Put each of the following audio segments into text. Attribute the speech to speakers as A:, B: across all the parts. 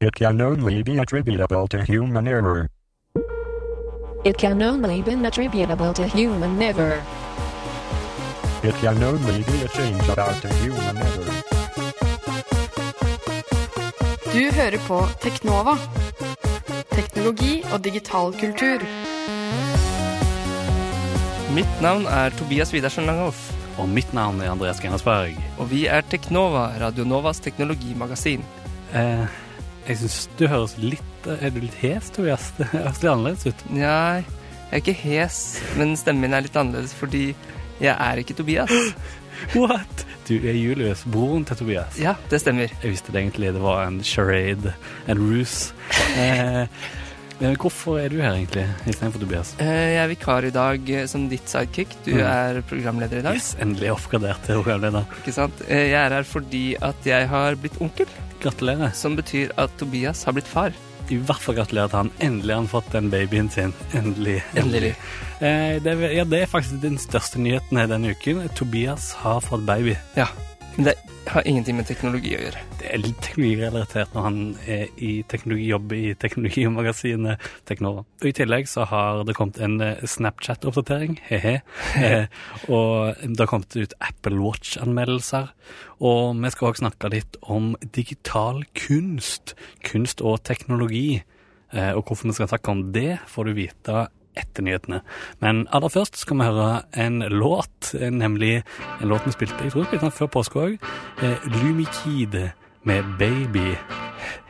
A: It can only be attributable to human error.
B: It can only be attributable to human error.
A: It can only be a change about a human error.
C: Du hører på Teknova. Teknologi og digital kultur.
D: Mitt navn er Tobias Widersen Langhoff,
E: Og mitt navn er Andreas Gennersberg.
D: og vi er Teknova, Radionovas teknologimagasin.
E: Eh, jeg syns du høres litt eh, Er du litt hes, Tobias? Det høres litt annerledes ut.
D: Nja, jeg er ikke hes, men stemmen min er litt annerledes fordi jeg er ikke Tobias.
E: What? Du er Julius, broren til Tobias.
D: Ja, det stemmer.
E: Jeg visste det egentlig. Det var en charade, en ruse. Eh, men hvorfor er du her, egentlig, istedenfor Tobias?
D: Eh, Jeg er vikar i dag eh, som ditt sidekick. Du
E: Mm.
D: er programleder i dag,
E: Yes, endelig oppgradert til programleder.
D: ikke sant? Eh, Jeg er her fordi at jeg har blitt onkel,
E: Gratulerer.
D: som betyr at Tobias har blitt far.
E: I hvert fall gratulerer til han. Endelig har han fått den babyen sin. Endelig.
D: Endelig.
E: Eh, det, er, ja, det er faktisk den største nyheten her denne uken. Tobias har fått baby.
D: Ja, men det har ingenting med teknologi å gjøre.
E: Det er litt teknologirelatert når han er i teknologi, jobber i teknologimagasinet Teknova. Og I tillegg så har det kommet en eh, Snapchat-oppdatering, he-he. Eh, og det har kommet ut Apple Watch-anmeldelser. Og vi skal òg snakke litt om digital kunst. Kunst og teknologi. Eh, og hvorfor vi skal snakke om det, får du vite etter nyhetene. Men aller først skal vi høre en låt, eh, nemlig en låt vi spilte jeg tror vi spilte den før påske òg. Eh, Lumikide med Baby.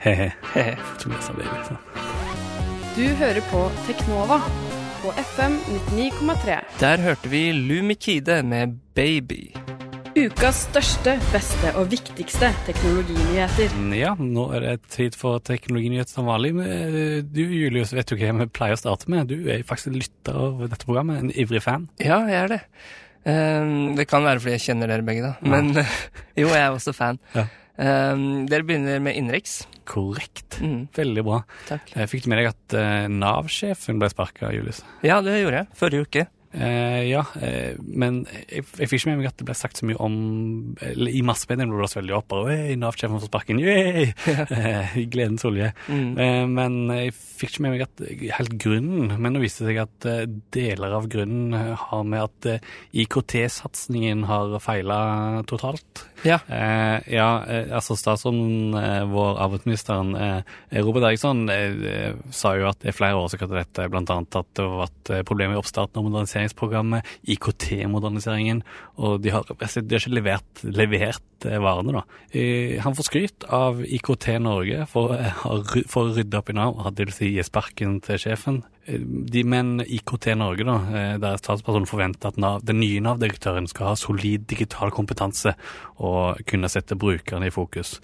E: He-he. Tobias har baby. sant?
C: Du hører på Teknova på FM 99,3.
D: Der hørte vi Lumikide med Baby.
C: Ukas største, beste og viktigste teknologinyheter.
E: Mm, Ja, nå er det tid for teknologinyhet som vanlig. Men, eh, Du, Julius, vet jo hva vi pleier å starte med. Du er faktisk en lytter av dette programmet, en ivrig fan.
D: Ja, jeg er det. Ehm, det kan være fordi jeg kjenner dere begge, da. Men eh, jo, jeg er også fan.
E: Ja.
D: Ehm, dere begynner med innenriks.
E: Korrekt.
D: Mm,
E: Veldig bra.
D: takk.
E: Eh, Fikk du med deg at eh, Nav-sjefen ble sparka, Julius?
D: Ja, det gjorde jeg. Forrige uke.
E: Eh, ja, eh, men jeg, jeg fikk ikke med meg at det ble sagt så mye om eller, I massemediene ble det blåst veldig opp. Og, «Oi, Nav-sjefen får sparken! Yay! Eh, Gledens olje.
D: Mm.
E: Eh, men jeg fikk ikke med meg at helt grunnen. Men nå viste det seg at eh, deler av grunnen eh, har med at eh, IKT-satsingen har feila totalt.
D: Ja.
E: Eh, ja, eh, altså statsråden, eh, vår arbeidsministeren, eh, Robert Eriksson, eh, eh, sa jo at det er flere årsaker til dette, blant annet at det har vært eh, problemer i oppstarten av moderniseringsprogrammet, IKT-moderniseringen, og de har, altså, de har ikke levert, levert eh, varene, da. Eh, han får skryt av IKT Norge for, eh, har ry- for å rydde opp i Nav, det vil si gi sparken til sjefen. Eh, De, men IKT Norge, da, eh, deres talsperson, forventer at NAV, den nye Nav-direktøren skal ha solid digital kompetanse og kunne sette brukerne i fokus.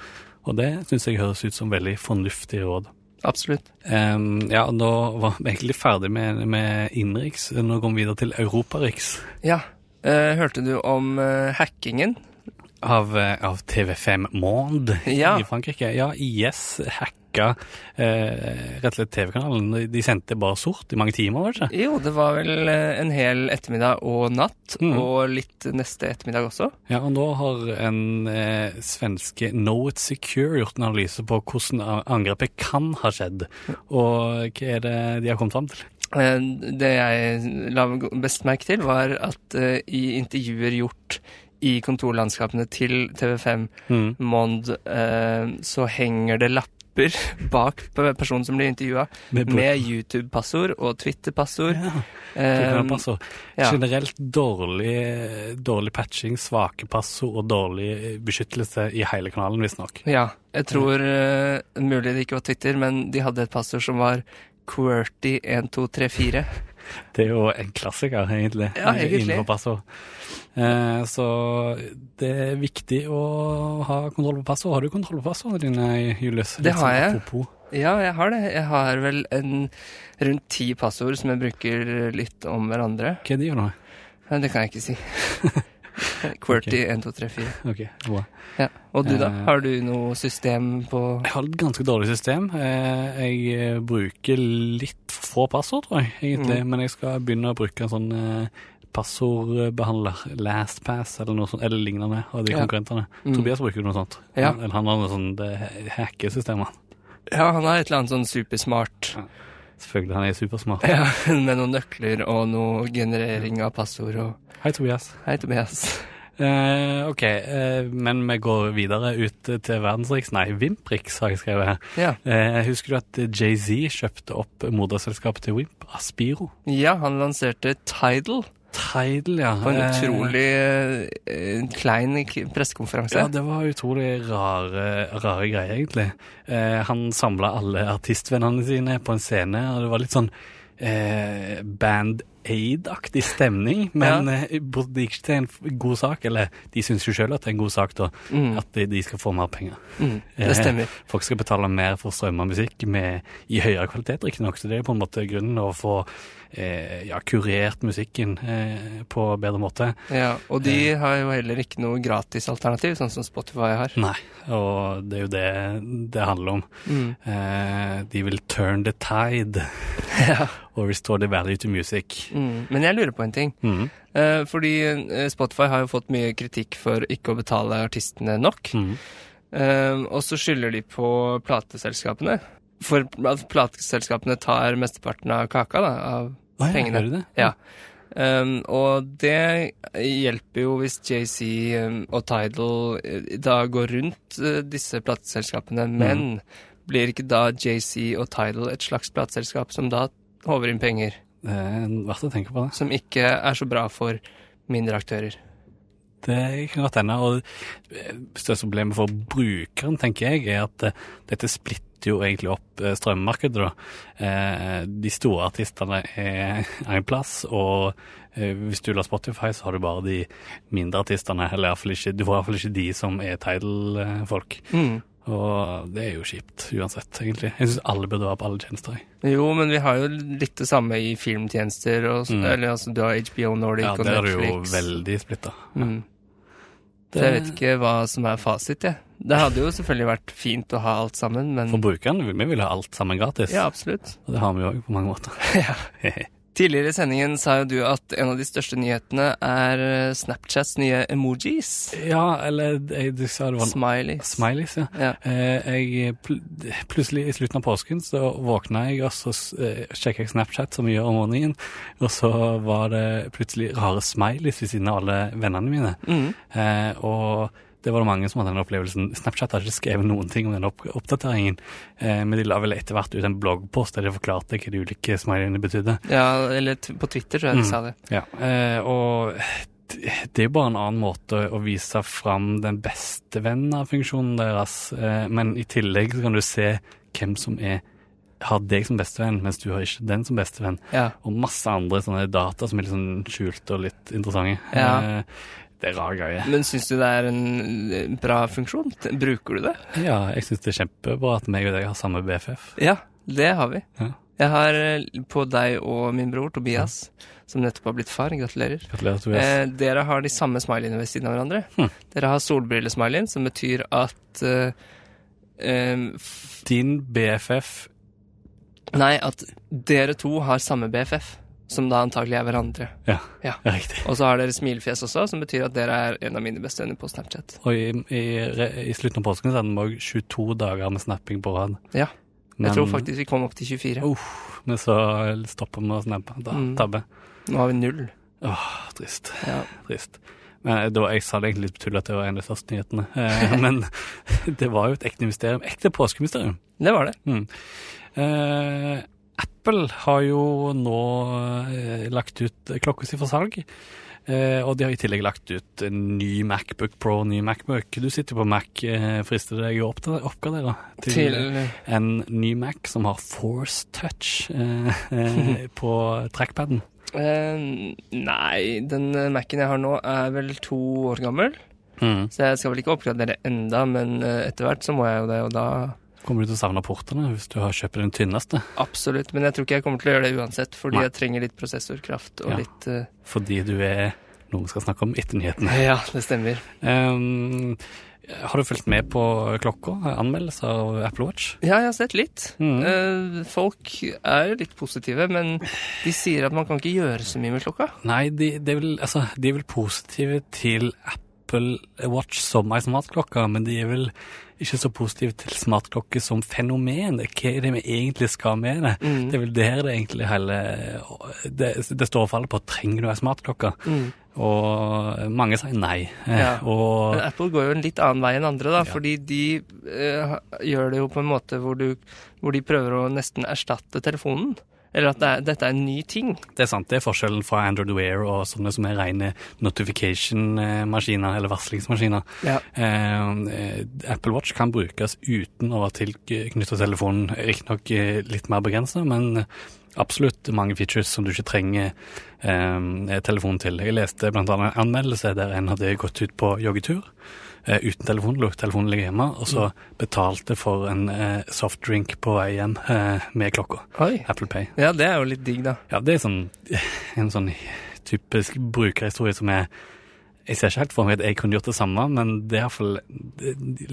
E: Og det syns jeg høres ut som veldig fornuftig råd.
D: Absolutt.
E: Ehm, ja, da var vi egentlig ferdig med, med innenriks. Nå går vi videre til europariks
D: Ja. Eh, hørte du om eh, hackingen?
E: av, eh, av TV5 Monde
D: Ja.
E: i Frankrike. Ja, IS hacka eh, rett og slett TV-kanalen. De sendte bare sort i mange timer, var det ikke?
D: Jo, det var vel eh, en hel ettermiddag og natt,
E: Mm.
D: og litt neste ettermiddag også.
E: Ja, og nå har en eh, svenske Know It Secure gjort en analyse på hvordan a- angrepet kan ha skjedd. Og hva er det de har kommet fram til?
D: Eh, Det jeg la best merke til, var at eh, i intervjuer gjort i kontorlandskapene til TV5
E: Mm.
D: Mond, eh, så henger det lapper bak på personen som blir intervjua, med YouTube-passord og Twitter-passord.
E: ja,
D: Eh,
E: programpasser.
D: ja.
E: Generelt dårlig, dårlig patching, svake passord og dårlig eh, beskyttelse i hele kanalen, visstnok.
D: ja. Jeg tror eh, mulig det ikke var Twitter, men de hadde et passord som var QWERTY1234.
E: Det er jo en klassiker, egentlig,
D: Ja, egentlig.
E: innenfor passord. Eh, så det er viktig å ha kontroll på passord. Har du kontroll på passordene dine, Julius?
D: Det har
E: sånn
D: jeg.
E: apropos.
D: Ja, jeg har det. Jeg har vel en, rundt ti passord som jeg bruker litt om hverandre.
E: Hva er de for noe?
D: Men det kan jeg ikke si. QWERTY1234.
E: Ok, bra.
D: Ja. Og du, da?
E: Eh.
D: Har du noe system på
E: Jeg har et ganske dårlig system. Eh, Jeg eh, bruker litt for få passord, tror jeg, egentlig.
D: Mm.
E: Men jeg skal begynne å bruke en sånn eh, passordbehandler, LastPass eller noe sånt, eller lignende, av de
D: Ja.
E: konkurrentene.
D: Mm.
E: Tobias bruker noe sånt.
D: Ja.
E: Han, eller han har noe sånn det hackesystemet.
D: Mm. Ja, han er et eller annet sånn supersmart
E: Selvfølgelig, han er supersmart.
D: ja, med noen nøkler og noe generering av passord og
E: Hei, Tobias.
D: Hei, Tobias.
E: Eh, ok, eh, men vi går videre ut til verdensriks. Nei, Vimprix har jeg skrevet her.
D: Ja.
E: Eh, husker du at Jay-Z kjøpte opp moderselskapet til Wimp, Aspiro?
D: ja, han lanserte Tidal
E: Tidal, ja.
D: på en
E: Eh,
D: utrolig eh, klein k- pressekonferanse.
E: Ja, det var utrolig rare, rare greier, egentlig. Eh, han samla alle artistvennene sine på en scene, og det var litt sånn eh, Band Aid-aktig stemning, men eh, burde det gikk til en god sak. Eller de syns jo sjøl at det er en god sak, da.
D: Mm.
E: At de, de skal få mer penger.
D: Mm, det stemmer.
E: Eh, folk skal betale mer for å strømme musikk med, i høyere kvalitet, riktignok. Så det er på en måte grunnen å få eh, ja, kurert musikken eh, på bedre måte.
D: Ja, og de har jo heller ikke noe gratisalternativ, sånn som Spotify har.
E: Nei, og det er jo det det handler om.
D: Mm.
E: Eh, de vil turn the tide og restore the value to music.
D: Mm. Men jeg lurer på en ting.
E: Mhm.
D: Eh, fordi eh, Spotify har jo fått mye kritikk for ikke å betale artistene nok.
E: Mhm.
D: Eh, og så skylder de på plateselskapene. For at plateselskapene tar mesteparten av kaka, da. Av
E: Å ja,
D: Pengene.
E: Mm. gjør de det?
D: Ja. Um, og det hjelper jo hvis JC um, og Tidal eh, da går rundt eh, disse plateselskapene,
E: Mhm.
D: men blir ikke da JC og Tidal et slags plateselskap som da håver inn penger,
E: Det er Eh, verdt å tenke på det.
D: som ikke er så bra for mindre aktører?
E: Det kan godt hende. Og eh, største problemet for brukeren, tenker jeg, er at eh, dette splitter jo egentlig opp eh, strømmarkedet, da. Eh, De store artistene er en plass, og eh, hvis du lar Spotify, så har du bare de mindre artistene. Eller i hvert fall ikke, du får i hvert fall ikke de som er Tidal-folk. Og det er jo kjipt uansett, egentlig. Jeg syns alle burde være på alle tjenester. jeg.
D: Jo, men vi har jo litt det samme i filmtjenester. Og, s-
E: Mm.
D: Eller altså, du har HBO Nordic
E: Ja,
D: og
E: der er du jo
D: Netflix.
E: veldig splitta.
D: Mm. Så jeg vet ikke hva som er fasit, jeg. Det hadde jo selvfølgelig vært fint å ha alt sammen, men
E: For brukeren, vi vil ha alt sammen gratis.
D: Ja, absolutt.
E: Og det har vi jo òg på mange måter.
D: Tidligere i sendingen sa jo du at en av de største nyhetene er eh, Snapchats nye emojis.
E: Ja, eller jeg, du sa det var en
D: Smileys.
E: Smileys, ja.
D: Ja.
E: Eh, jeg, pl plutselig i slutten av påsken så våkna jeg, og så eh, sjekka jeg Snapchat, som vi gjør om morgenen, og så var det plutselig rare smileys ved siden av alle vennene mine.
D: Mm.
E: Eh, og det var det mange som hadde den opplevelsen. Snapchat har ikke skrevet noen ting om den opp oppdateringen, eh, men de la vel etter hvert ut en bloggpost der de forklarte hva de ulike smileyene betydde.
D: Ja, eller t på Twitter, tror jeg
E: Mm.
D: de sa det.
E: Ja, eh, og det det er jo bare en annen måte å vise fram den beste vennen av funksjonen deres, eh, men i tillegg så kan du se hvem som er, har deg som bestevenn, mens du har ikke den som bestevenn,
D: Ja.
E: og masse andre sånne data som er litt sånn skjult og litt interessante.
D: Ja.
E: Eh, Det er rar greie.
D: Men syns du det er en eh, bra funksjon? T- Bruker du det?
E: Ja, jeg synes det er kjempebra at meg og deg har samme BFF.
D: Ja, det har vi.
E: Ja.
D: Jeg har eh, på deg og min bror Tobias, som nettopp har blitt far. Gratulerer.
E: Gratulerer, Tobias.
D: Eh, dere har de samme smileyene ved siden av hverandre.
E: Hm.
D: Dere har solbrillesmileyen, som betyr at eh, em,
E: Din BFF
D: Nei, at dere to har samme BFF, som da antagelig er hverandre.
E: Ja,
D: Ja.
E: ja riktig.
D: Og så har dere smilefjes også, som betyr at dere er en av mine beste venner på Snapchat.
E: Og i, i, re- i slutten av påsken så hadde vi også 22 dager med snapping på rad.
D: Ja.
E: Men-
D: Jeg tror faktisk vi kom opp til 24.
E: Uff, men så stopper vi å snappe. Da,
D: Mm.
E: Tabbe.
D: Nå har vi null.
E: Åh, trist.
D: Ja.
E: Trist. Men da, jeg sa det egentlig litt på tull at det var en av de største nyhetene. Eh, men det var jo et ekte mysterium. Ekte påskemysterium. Mm.
D: Det var det.
E: Eh, Apple har jo nå eh, lagt ut klokka si for salg. Eh, og de har i tillegg lagt ut en ny Macbook Pro, ny Macbook. Du sitter på Mac, eh, frister det deg å oppda- oppgradere til,
D: Til
E: en ny Mac som har Force Touch eh, eh, på trackpaden?
D: eh, Nei, den eh, Mac-en jeg har nå, er vel to år gammel.
E: Mm.
D: Så jeg skal vel ikke oppgradere enda, men eh, etter hvert så må jeg jo det, og da
E: Kommer du til å savne portene hvis du har kjøpt den tynneste?
D: Absolutt. Men jeg tror ikke jeg kommer til å gjøre det uansett, fordi
E: Nei.
D: jeg trenger litt prosessorkraft og
E: Ja.
D: litt eh,
E: Fordi du er noe vi skal snakke om etter nyhetene.
D: Ja, det stemmer.
E: Ehm, har du fulgt med på klokka? Anmeldelse av Apple Watch?
D: Ja, jeg har sett litt.
E: Mm.
D: Eh, folk er jo litt positive, men de sier at man kan ikke gjøre så mye med klokka.
E: Nei, de, det er vel, altså, de er vel positive til Apple Watch som ei smartklokke, men de er vel ikke så positiv til smartklokke som fenomen. Hva er det vi egentlig skal med det? Det er vel der det egentlig hele Det, det står og faller på trenger du ei smartklokke. Og mange sier nei. Eh,
D: Ja.
E: Og
D: Men Apple går jo en litt annen vei enn andre, da, fordi de eh, ha- gjør det jo på en måte hvor, du, hvor de prøver å nesten erstatte telefonen. Eller at det er, dette er en ny ting.
E: Det er sant, det er forskjellen fra Android Wear og sånne som er rene notification-maskiner eller varslingsmaskiner.
D: Ja.
E: Eh, eh, Apple Watch kan brukes uten å være tilknyttet telefonen, riktignok eh, litt mer begrenset, men eh, absolutt mange features som du ikke trenger eh, telefonen til. Jeg leste blant annet en anmeldelse der en hadde gått ut på joggetur eh, uten telefon, lot telefonen ligge hjemme, og så betalte for en eh, softdrink på vei hjem eh, med klokka.
D: Oi.
E: Apple Pay.
D: Ja, det er jo litt digg, da.
E: Ja, det er sånn, en sånn typisk brukerhistorie som er Jeg ser ikke helt for meg at jeg kunne gjort det samme, men det er iallfall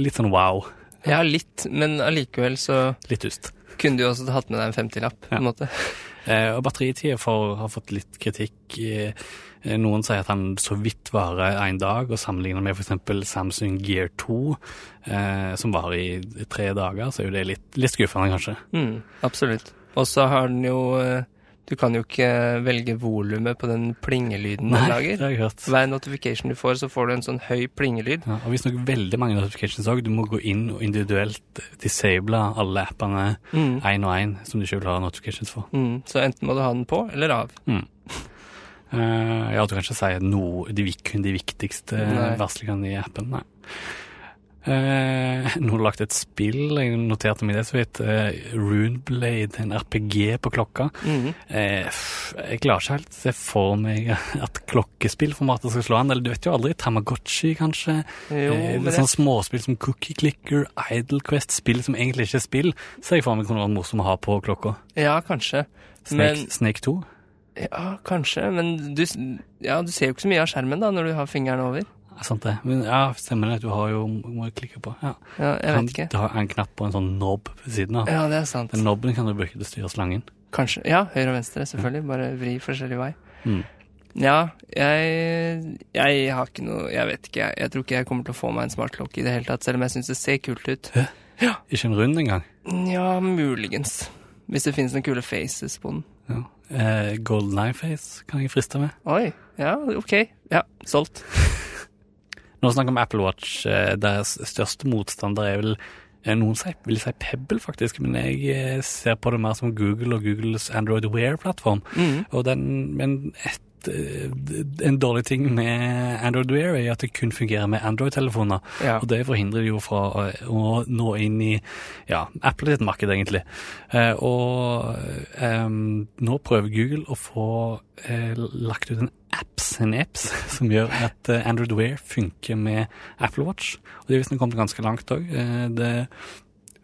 E: litt sånn wow.
D: Ja, litt, men allikevel så
E: Litt dust.
D: kunne du jo også hatt med deg en 50-lapp, på
E: Ja.
D: en måte.
E: Eh, og batteritida for- har fått litt kritikk. Eh, Noen sier at han så vidt varer én dag, og sammenligner med f.eks. Samsung Gear 2, eh, som varer i tre dager, så er jo det litt, litt skuffende, kanskje.
D: Mm, absolutt. Og så har den jo eh, Du kan jo ikke velge volumet på den plingelyden den
E: det
D: lager.
E: har jeg hørt.
D: Hver notification du får, så får du en sånn høy plingelyd.
E: Ja, og visstnok veldig mange notifications òg. Du må gå inn og individuelt disable alle appene
D: Mm.
E: én og én som du ikke vil ha notifications for.
D: Mm, så enten må du ha den på eller av.
E: Eh, ja, du kan ikke si noe, de, vik- kun de viktigste
D: Nei.
E: varslingene i appen. Nei. Eh, noen har lagt et spill, jeg noterte meg det så vidt. eh, Runeblade, en RPG på klokka.
D: Mm.
E: Eh, pff, jeg klarer ikke helt se for meg at klokkespillformatet skal slå an. Eller du vet jo aldri. Tamagotchi, kanskje.
D: Jo,
E: eh,
D: men
E: litt sånn småspill som Cookie Clicker, Idle Quest, spill som egentlig ikke er spill. Så jeg for meg kunne være morsom å ha på klokka.
D: jeg, Ja, kanskje.
E: Snake,
D: Men-
E: Snake 2?
D: Ja, kanskje, men du, s- ja, du ser jo ikke så mye av skjermen da når du har fingeren over.
E: Er sant det. Men ja, stemmer det. Du har jo Må jeg klikke på? Ja.
D: Ja, jeg
E: Kan-
D: vet ikke.
E: Du har en knapp på en sånn knob ved siden av.
D: Ja, det er sant.
E: Den knobben kan du bruke til å styre slangen.
D: Kanskje. Ja, høyre og venstre, selvfølgelig. Bare vri forskjellig vei.
E: Mm.
D: Ja, jeg, jeg har ikke noe Jeg vet ikke, jeg. Jeg tror ikke jeg kommer til å få meg en smartklokke i det hele tatt, selv om jeg syns det ser kult ut.
E: Ikke en rund engang.
D: Ja, muligens. Hvis det finnes noen kule faces på den.
E: Ja. Eh, Golden Eye Face kan jeg friste med.
D: Oi. Ja, ok. Ja, solgt.
E: Nå snakker vi om Apple Watch. Eh, deres største motstander er vel eh, noen sier- vil si Pebble, faktisk, men jeg eh, ser på det mer som Google og Googles Android Wear-plattform.
D: Mm.
E: Og den, men et, eh, d- en dårlig ting med Android Wear er at det kun fungerer med Android-telefoner.
D: Ja.
E: Og det forhindrer de jo fra å- å nå inn i ja, Apple sitt marked, egentlig. Eh, og ehm, nå prøver Google å få eh, lagt ut en apps, en apps som gjør at eh, Android Wear funker med Apple Watch. Og det er visstnok kommet ganske langt òg. Eh, det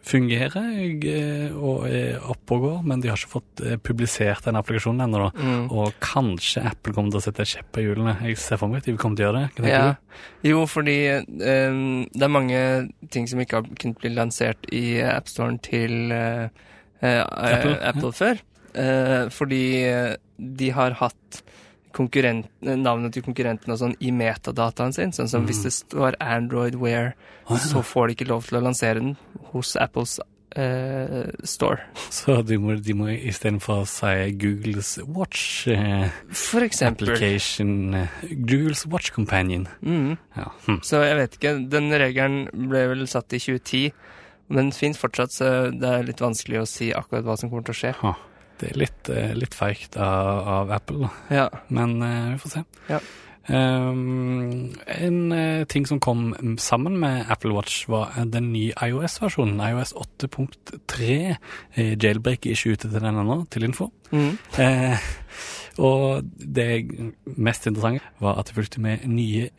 E: fungerer jeg, eh, og er oppe og går, men de har ikke fått eh, publisert den applikasjonen ennå. da.
D: Mm.
E: Og kanskje Apple kommer til å sette kjepp i hjulene. Jeg ser for meg at de kommer til å gjøre det. Hva tenker
D: Ja.
E: du?
D: Jo, fordi ehm, det er mange ting som ikke har kunnet bli lansert i appstoren til eh, eh,
E: Apple,
D: Apple, før. Eh, fordi eh, de har hatt konkurrent, eh, navnet til konkurrenten og sånn i metadataen sin. Sånn som hvis det står Android Wear, så får de ikke lov til å lansere den hos Apples eh, store.
E: Så de må, de må istedenfor si Googles Watch eh,
D: For eksempel.
E: Application eh, Googles Watch Companion.
D: Mm.
E: Ja. Hm.
D: Så jeg vet ikke. Den regelen ble vel satt i 2010, men fins fortsatt, så det er litt vanskelig å si akkurat hva som kommer til å skje.
E: Ha. Det er litt, eh, litt feigt av, av Apple, da.
D: Ja.
E: men eh, vi får se.
D: Ja.
E: Um, en eh, ting som kom sammen med Apple Watch, var eh, den nye IOS-versjonen. iOS 8.3. Eh, jailbreak er ikke ute til den ennå, til info.
D: Mm.
E: Eh, og det mest interessante var at det fulgte med nye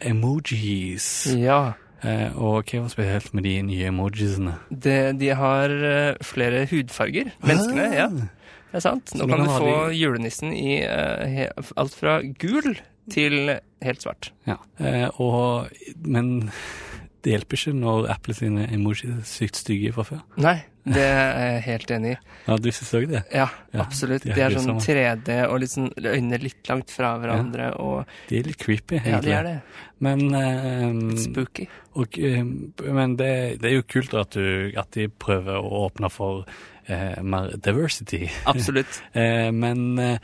E: emojis.
D: ja.
E: Eh, og hva var spesielt med de nye emojisene?
D: Det, de har eh, flere hudfarger, menneskene. Ja, det er sant. Nå
E: Så nå
D: kan
E: kan
D: du
E: ha
D: få julenissen i eh, he, alt fra gul til helt svart.
E: Ja. Eh, og, men det hjelper ikke når Apple sine emojis er sykt stygge fra før.
D: Nei, Det er jeg helt enig i.
E: Ja, du syns òg det?
D: Ja,
E: Ja,
D: absolutt.
E: de er
D: De er
E: helt
D: sånn
E: grusomme.
D: 3D og litt sånn øynene litt langt fra hverandre, og
E: De er litt creepy,
D: ja, de
E: egentlig.
D: er det.
E: Men, eh,
D: Spooky.
E: og, eh, men det, det er jo kult at, du, at de prøver å åpne for eh, mer diversity.
D: Absolutt.
E: Eh, men eh,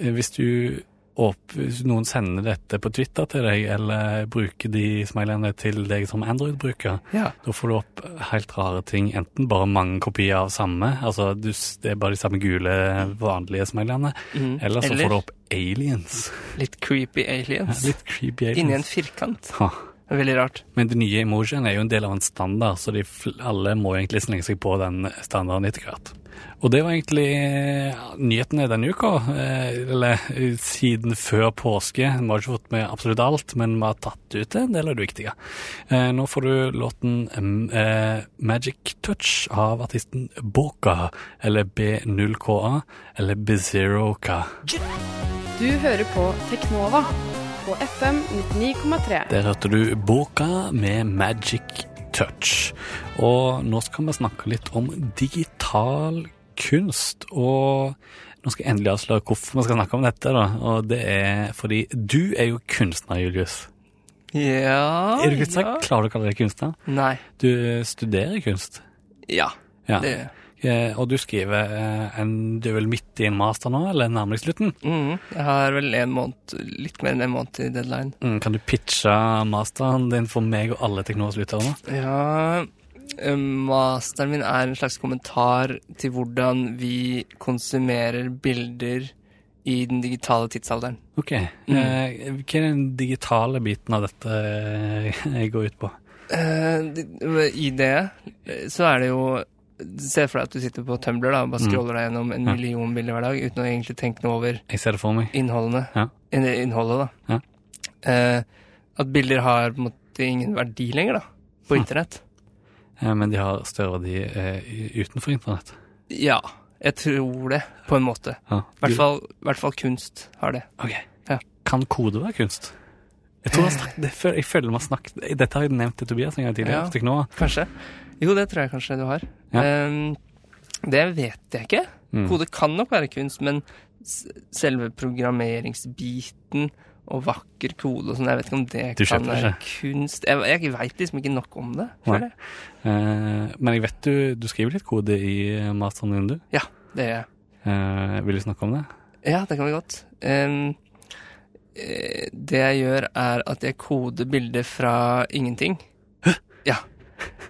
E: hvis du opp, hvis noen sender dette på Twitter til deg, eller bruker de smilene til deg som Android-bruker,
D: Ja.
E: da får du opp helt rare ting. Enten bare mange kopier av samme, altså du, s- det er bare de samme gule, vanlige smilene,
D: Mhm.
E: eller så får du opp aliens.
D: litt creepy aliens.
E: Litt creepy aliens.
D: Inni en firkant.
E: Ha.
D: Veldig rart.
E: Men de nye emojiene er jo en del av en standard, så de fl- alle må egentlig slenge seg på den standarden etter hvert. Og det var egentlig ja, nyhetene denne uka, eh, eller eh, siden før påske. Vi har ikke fått med absolutt alt, men vi har tatt ut en del av det viktige. Eh, Nå får du låten mm, eh, Magic Touch av artisten Boka, eller B0KA, eller B0K.
C: Du hører på Teknova på FM 99,3.
E: Der hørte du boka med Magic Touch. Og nå skal vi snakke litt om digital kunst. Og nå skal jeg endelig avsløre hvorfor vi skal snakke om dette. da. Og det er fordi du er jo kunstner, Julius.
D: Ja
E: Er du ikke
D: ja.
E: sagt, Klarer du å kalle deg kunstner?
D: Nei.
E: Du studerer kunst.
D: Ja,
E: Ja.
D: det
E: Eh, Og du skriver eh, en Du er vel midt i en master nå, eller nærmere slutten?
D: mhm. Jeg har vel en måned, litt mer enn en måned til deadline.
E: Mm, Kan du pitche masteren din for meg og alle teknologilyttere nå?
D: Ja eh, Masteren min er en slags kommentar til hvordan vi konsumerer bilder i den digitale tidsalderen.
E: Ok.
D: Mm.
E: Eh, hva er den digitale biten av dette jeg går ut på?
D: Eh, det- I det eh, så er det jo Se for deg at du sitter på Tumblr da, og bare scroller deg gjennom en
E: Mm. Ja.
D: million bilder hver dag uten å egentlig tenke noe over
E: Jeg ser det for meg.
D: innholdene.
E: Ja.
D: In- Innholdet, da. Eh, at bilder har på en måte ingen verdi lenger, da. På internett.
E: Eh, men de har større verdi eh, i- utenfor internett.
D: Ja. Jeg tror det, på en måte.
E: Ja.
D: I hvert fall, i hvert fall kunst har det.
E: Ok.
D: Ja.
E: Kan kode være kunst? Jeg, tror jeg, har snakket, det før- jeg føler vi har snakket Dette har jeg nevnt til Tobias en gang tidligere.
D: Ja.
E: Fikk nå.
D: Kanskje. Jo, det tror jeg kanskje du har.
E: Ja.
D: Ehm, det vet jeg ikke.
E: Mm.
D: Kode kan nok være kunst, men s- selve programmeringsbiten og vakker kode og sånn, jeg vet ikke om det
E: Du
D: kan
E: kjøper
D: være kunst. Jeg, jeg veit liksom ikke nok om det. føler
E: Nei.
D: jeg.
E: Eh, men jeg vet du, du skriver litt kode i eh, masteren din, du.
D: Det gjør jeg.
E: Eh, vil du snakke om det?
D: Ja, det kan vi godt. Ehm, eh, det jeg gjør, er at jeg koder bilder fra ingenting. Ja.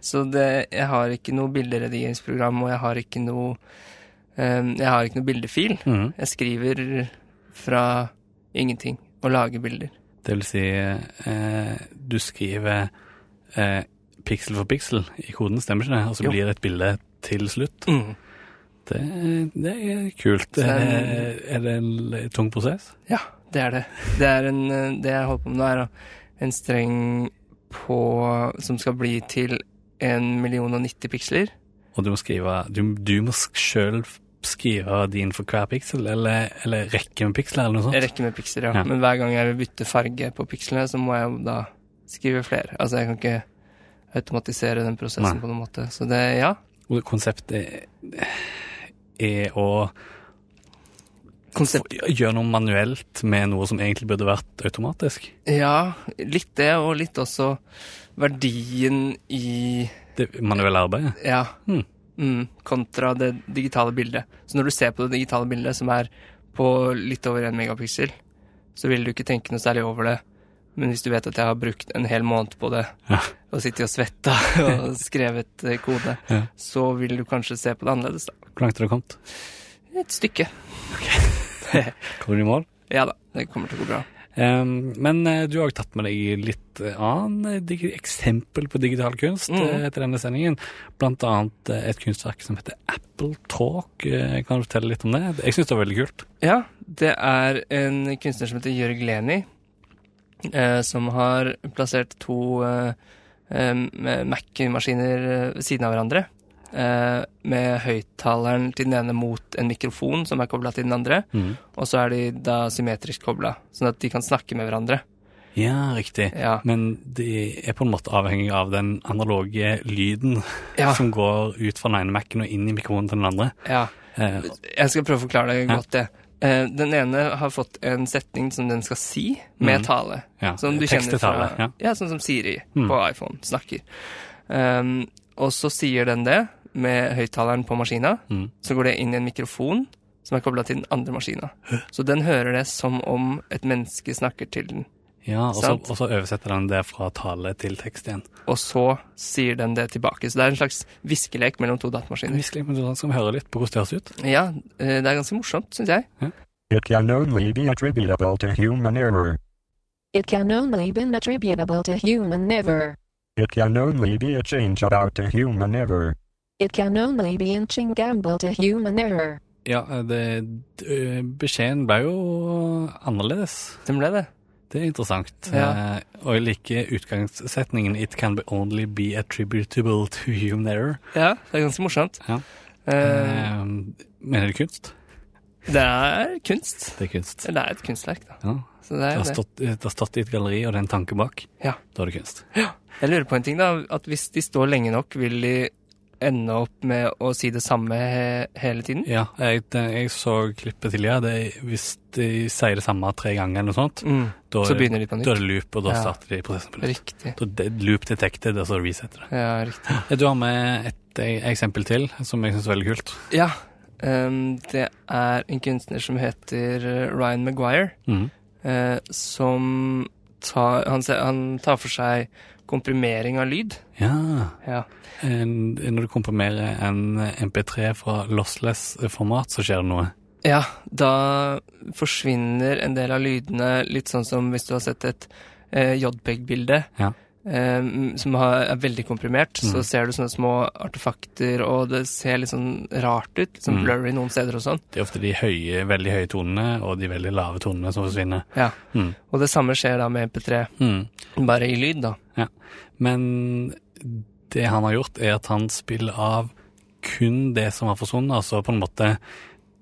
D: Så det, jeg har ikke noe bilderedigeringsprogram, og jeg har ikke noe ehm, Jeg har ikke noe bildefil.
E: Mhm.
D: Jeg skriver fra ingenting og lager bilder.
E: Det vil si eh, du skriver eh, piksel for piksel i koden, stemmer ikke det? Og så
D: Jo.
E: blir det et bilde til slutt. Det, det er kult.
D: Så det er en-
E: Eh, er det en l- tung prosess?
D: Ja, det er det. Det, er en, eh, det jeg holder på med nå, er en streng på Som skal bli til 1 million og 90 piksler.
E: Og du må skrive Du, du må sk- sjøl skrive din for hver piksel, eller, eller rekke med piksler, eller noe
D: Jeg
E: sånt?
D: rekker med piksler, ja.
E: Ja.
D: Men hver gang jeg vil bytte farge på pikslene, så må jeg jo da skrive flere. Altså, jeg kan ikke automatisere den prosessen
E: Nei.
D: på noen måte. Så det, ja.
E: Og konseptet er å
D: Konsept,
E: gjøre noe manuelt med noe som egentlig burde vært automatisk.
D: ja, litt det, og litt også verdien i
E: Det manuelle arbeidet.
D: Ja.
E: Hmm.
D: Mm, kontra det digitale bildet. Så når du ser på det digitale bildet, som er på litt over en megapiksel, så vil du ikke tenke noe særlig over det. Men hvis du vet at jeg har brukt en hel måned på det,
E: Ja.
D: og sitter og svetter og skrevet eh, kode,
E: Ja.
D: så vil du kanskje se på det annerledes, da.
E: Hvor langt har du kommet?
D: Et stykke.
E: Kommer du i mål?
D: Ja da, det kommer til å gå bra.
E: Um, men eh, du har jo tatt med deg litt eh, annen dig eksempel på digital kunst
D: Mhm.
E: eh, etter denne sendingen. Blant annet eh, et kunstverk som heter Apple Talk. Eh, kan du fortelle litt om det? Jeg syns det var veldig kult.
D: Ja, det er en kunstner som heter Jørg Leni, eh, som har plassert to eh, eh, Mac-maskiner eh, ved siden av hverandre. Eh, med høyttaleren til den ene mot en mikrofon som er kobla til den andre. Og så er de da symmetrisk kobla, sånn at de kan snakke med hverandre.
E: Ja, riktig.
D: Ja.
E: Men de er på en måte avhengig av den analoge lyden
D: Ja.
E: som går ut fra den ene Mac-en og inn i mikrofonen til den andre.
D: Ja.
E: Eh,
D: Jeg skal prøve å forklare det
E: Ja.
D: godt, det. Eh, Den ene har fått en setning som den skal si, med
E: Mhm.
D: tale.
E: ja.
D: Som du
E: Tekst
D: kjenner
E: til
D: fra
E: tale, ja.
D: sånn som Siri
E: Mm.
D: på iPhone snakker. Ehm, og så sier den det med høyttaleren på maskina.
E: Mm.
D: Så går det inn i en mikrofon som er kobla til den andre maskina. Så den hører det som om et menneske snakker til den.
E: Ja, og så,
D: Sant.
E: og så oversetter den det fra tale til tekst igjen.
D: Og så sier den det tilbake. Så det er en slags hviskelek mellom to datamaskiner.
E: Visst, men da skal vi høre litt på hvordan det høres ut.
D: Ja, eh, det er ganske morsomt, syns jeg.
A: It can only be attributable to human error.
B: It can only be attributable to human error.
A: It can only be a change about a human error.
B: It can only be inching gamble to human error.
E: Ja, det, d- beskjeden ble jo annerledes.
D: Den ble det.
E: Det er interessant.
D: Ja.
E: Eh, og jeg liker utgangssetningen 'It can be only be attributable to human error'.
D: Ja, det er ganske morsomt.
E: Ja.
D: Eh,
E: Eh, mener du kunst?
D: det er kunst.
E: Det er kunst.
D: Eller det er et kunstverk, da.
E: Ja.
D: Så det
E: Det
D: er
E: har,
D: det.
E: stått, det har stått i et galleri, og det er en tanke bak.
D: Ja.
E: Da er det kunst.
D: Jeg lurer på en ting, da. At hvis de står lenge nok, vil de ende opp med å si det samme he hele tiden?
E: Ja, jeg, det- jeg så klippet tidligere. Det, hvis de sier det samme tre ganger eller noe sånt,
D: Mm.
E: da,
D: Så begynner de på
E: da
D: nytt.
E: er det loop, og da
D: Ja.
E: starter de prosessen på nytt.
D: Riktig.
E: Da det- loop detected, og så resetter det.
D: Ja, riktig.
E: Eh, Du har med et eh, eksempel til, som jeg syns er veldig kult.
D: Ja. ehm, det er en kunstner som heter eh, Ryan Maguire,
E: Mhm.
D: eh, som tar, han, ser- han tar for seg komprimering av lyd.
E: Ja.
D: Ja.
E: En, når du komprimerer en MP3 fra lossless-format, så skjer det noe.
D: Ja, da forsvinner en del av lydene, litt sånn som hvis du har sett et eh, JPEG-bilde
E: Ja.
D: eh, som har, er veldig komprimert, så
E: Mm.
D: ser du sånne små artefakter, og det ser litt sånn rart ut, litt sånn
E: Mm.
D: blurry noen steder og sånn.
E: Det er ofte de høye, veldig høye tonene og de veldig lave tonene som forsvinner.
D: Ja.
E: Mm.
D: Og det samme skjer da med MP3,
E: Mm.
D: bare i lyd, da.
E: Men det han har gjort, er at han spiller av kun det som har forsvunnet, altså på en måte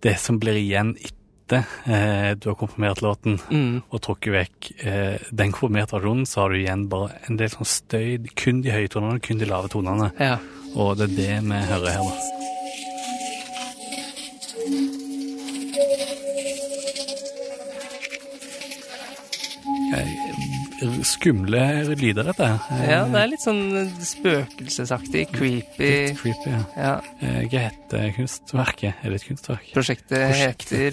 E: det som blir igjen etter eh, du har komprimert låten
D: Mm.
E: og trukket vekk eh, den komprimerte versjonen, så har du igjen bare en del sånn støy, kun de høye tonene, kun de lave tonene.
D: Ja.
E: Og det er det vi hører her, da. Eh, Skumle lyder, dette. Eh, her.
D: ja, det er litt sånn spøkelsesaktig, creepy.
E: Litt creepy, ja.
D: Ja,
E: Eh, Hva heter kunstverket? Er det et kunstverk?
D: prosjektet heter
E: Prosjektet.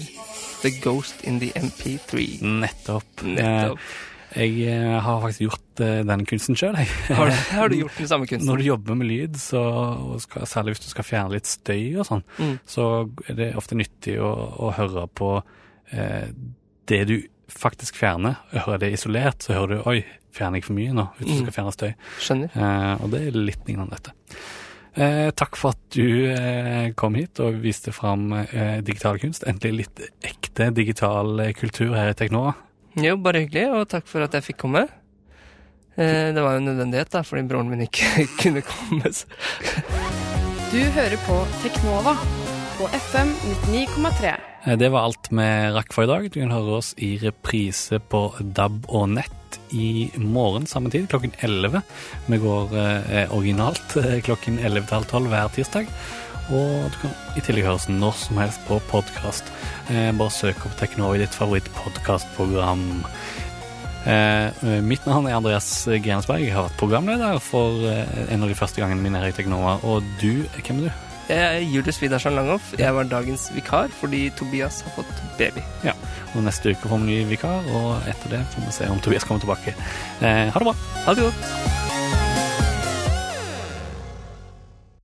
D: The Ghost in the MP3.
E: Nettopp.
D: Nettopp.
E: Eh, Jeg eh, har faktisk gjort eh, den kunsten sjøl, jeg.
D: Har du, har du gjort den samme kunsten?
E: Når du jobber med lyd, så, og skal, særlig hvis du skal fjerne litt støy og sånn,
D: Mm.
E: så er det ofte nyttig å, å høre på eh, det du faktisk fjerner. Hører det isolert, så hører du Oi, fjerner jeg for mye nå? Hvis du
D: Mm.
E: skal fjerne støy.
D: Skjønner.
E: Eh, og det er litt lignende dette. Eh, takk for at du eh, kom hit og viste fram eh, digital kunst. Endelig litt ekte digital eh, kultur her i Teknova.
D: Jo, bare hyggelig, og takk for at jeg fikk komme. Eh, Det var jo en nødvendighet, da, fordi broren min ikke kunne komme. så-
C: Du hører på Teknova på FM 99,3.
E: Eh, Det var alt vi rakk for i dag. Du kan høre oss i reprise på DAB og nett i morgen samme tid, klokken 11. Vi går eh, originalt eh, klokken 11 til halv 12 hver tirsdag. Og du kan i tillegg høres når som helst på podkast. Eh, bare søk opp Teknova i ditt favorittpodkastprogram. Eh, mitt navn er Andreas Grensberg. Jeg har vært programleder for eh, en av de første gangene mine her i Teknova. Og du, hvem er du?
D: Jeg er Julius Widersen Langhoff. Jeg var dagens vikar fordi Tobias har fått baby.
E: Og neste uke får vi ny vikar, og etter det får vi se om Tobias kommer tilbake. Eh, ha det bra.
D: Ha det godt.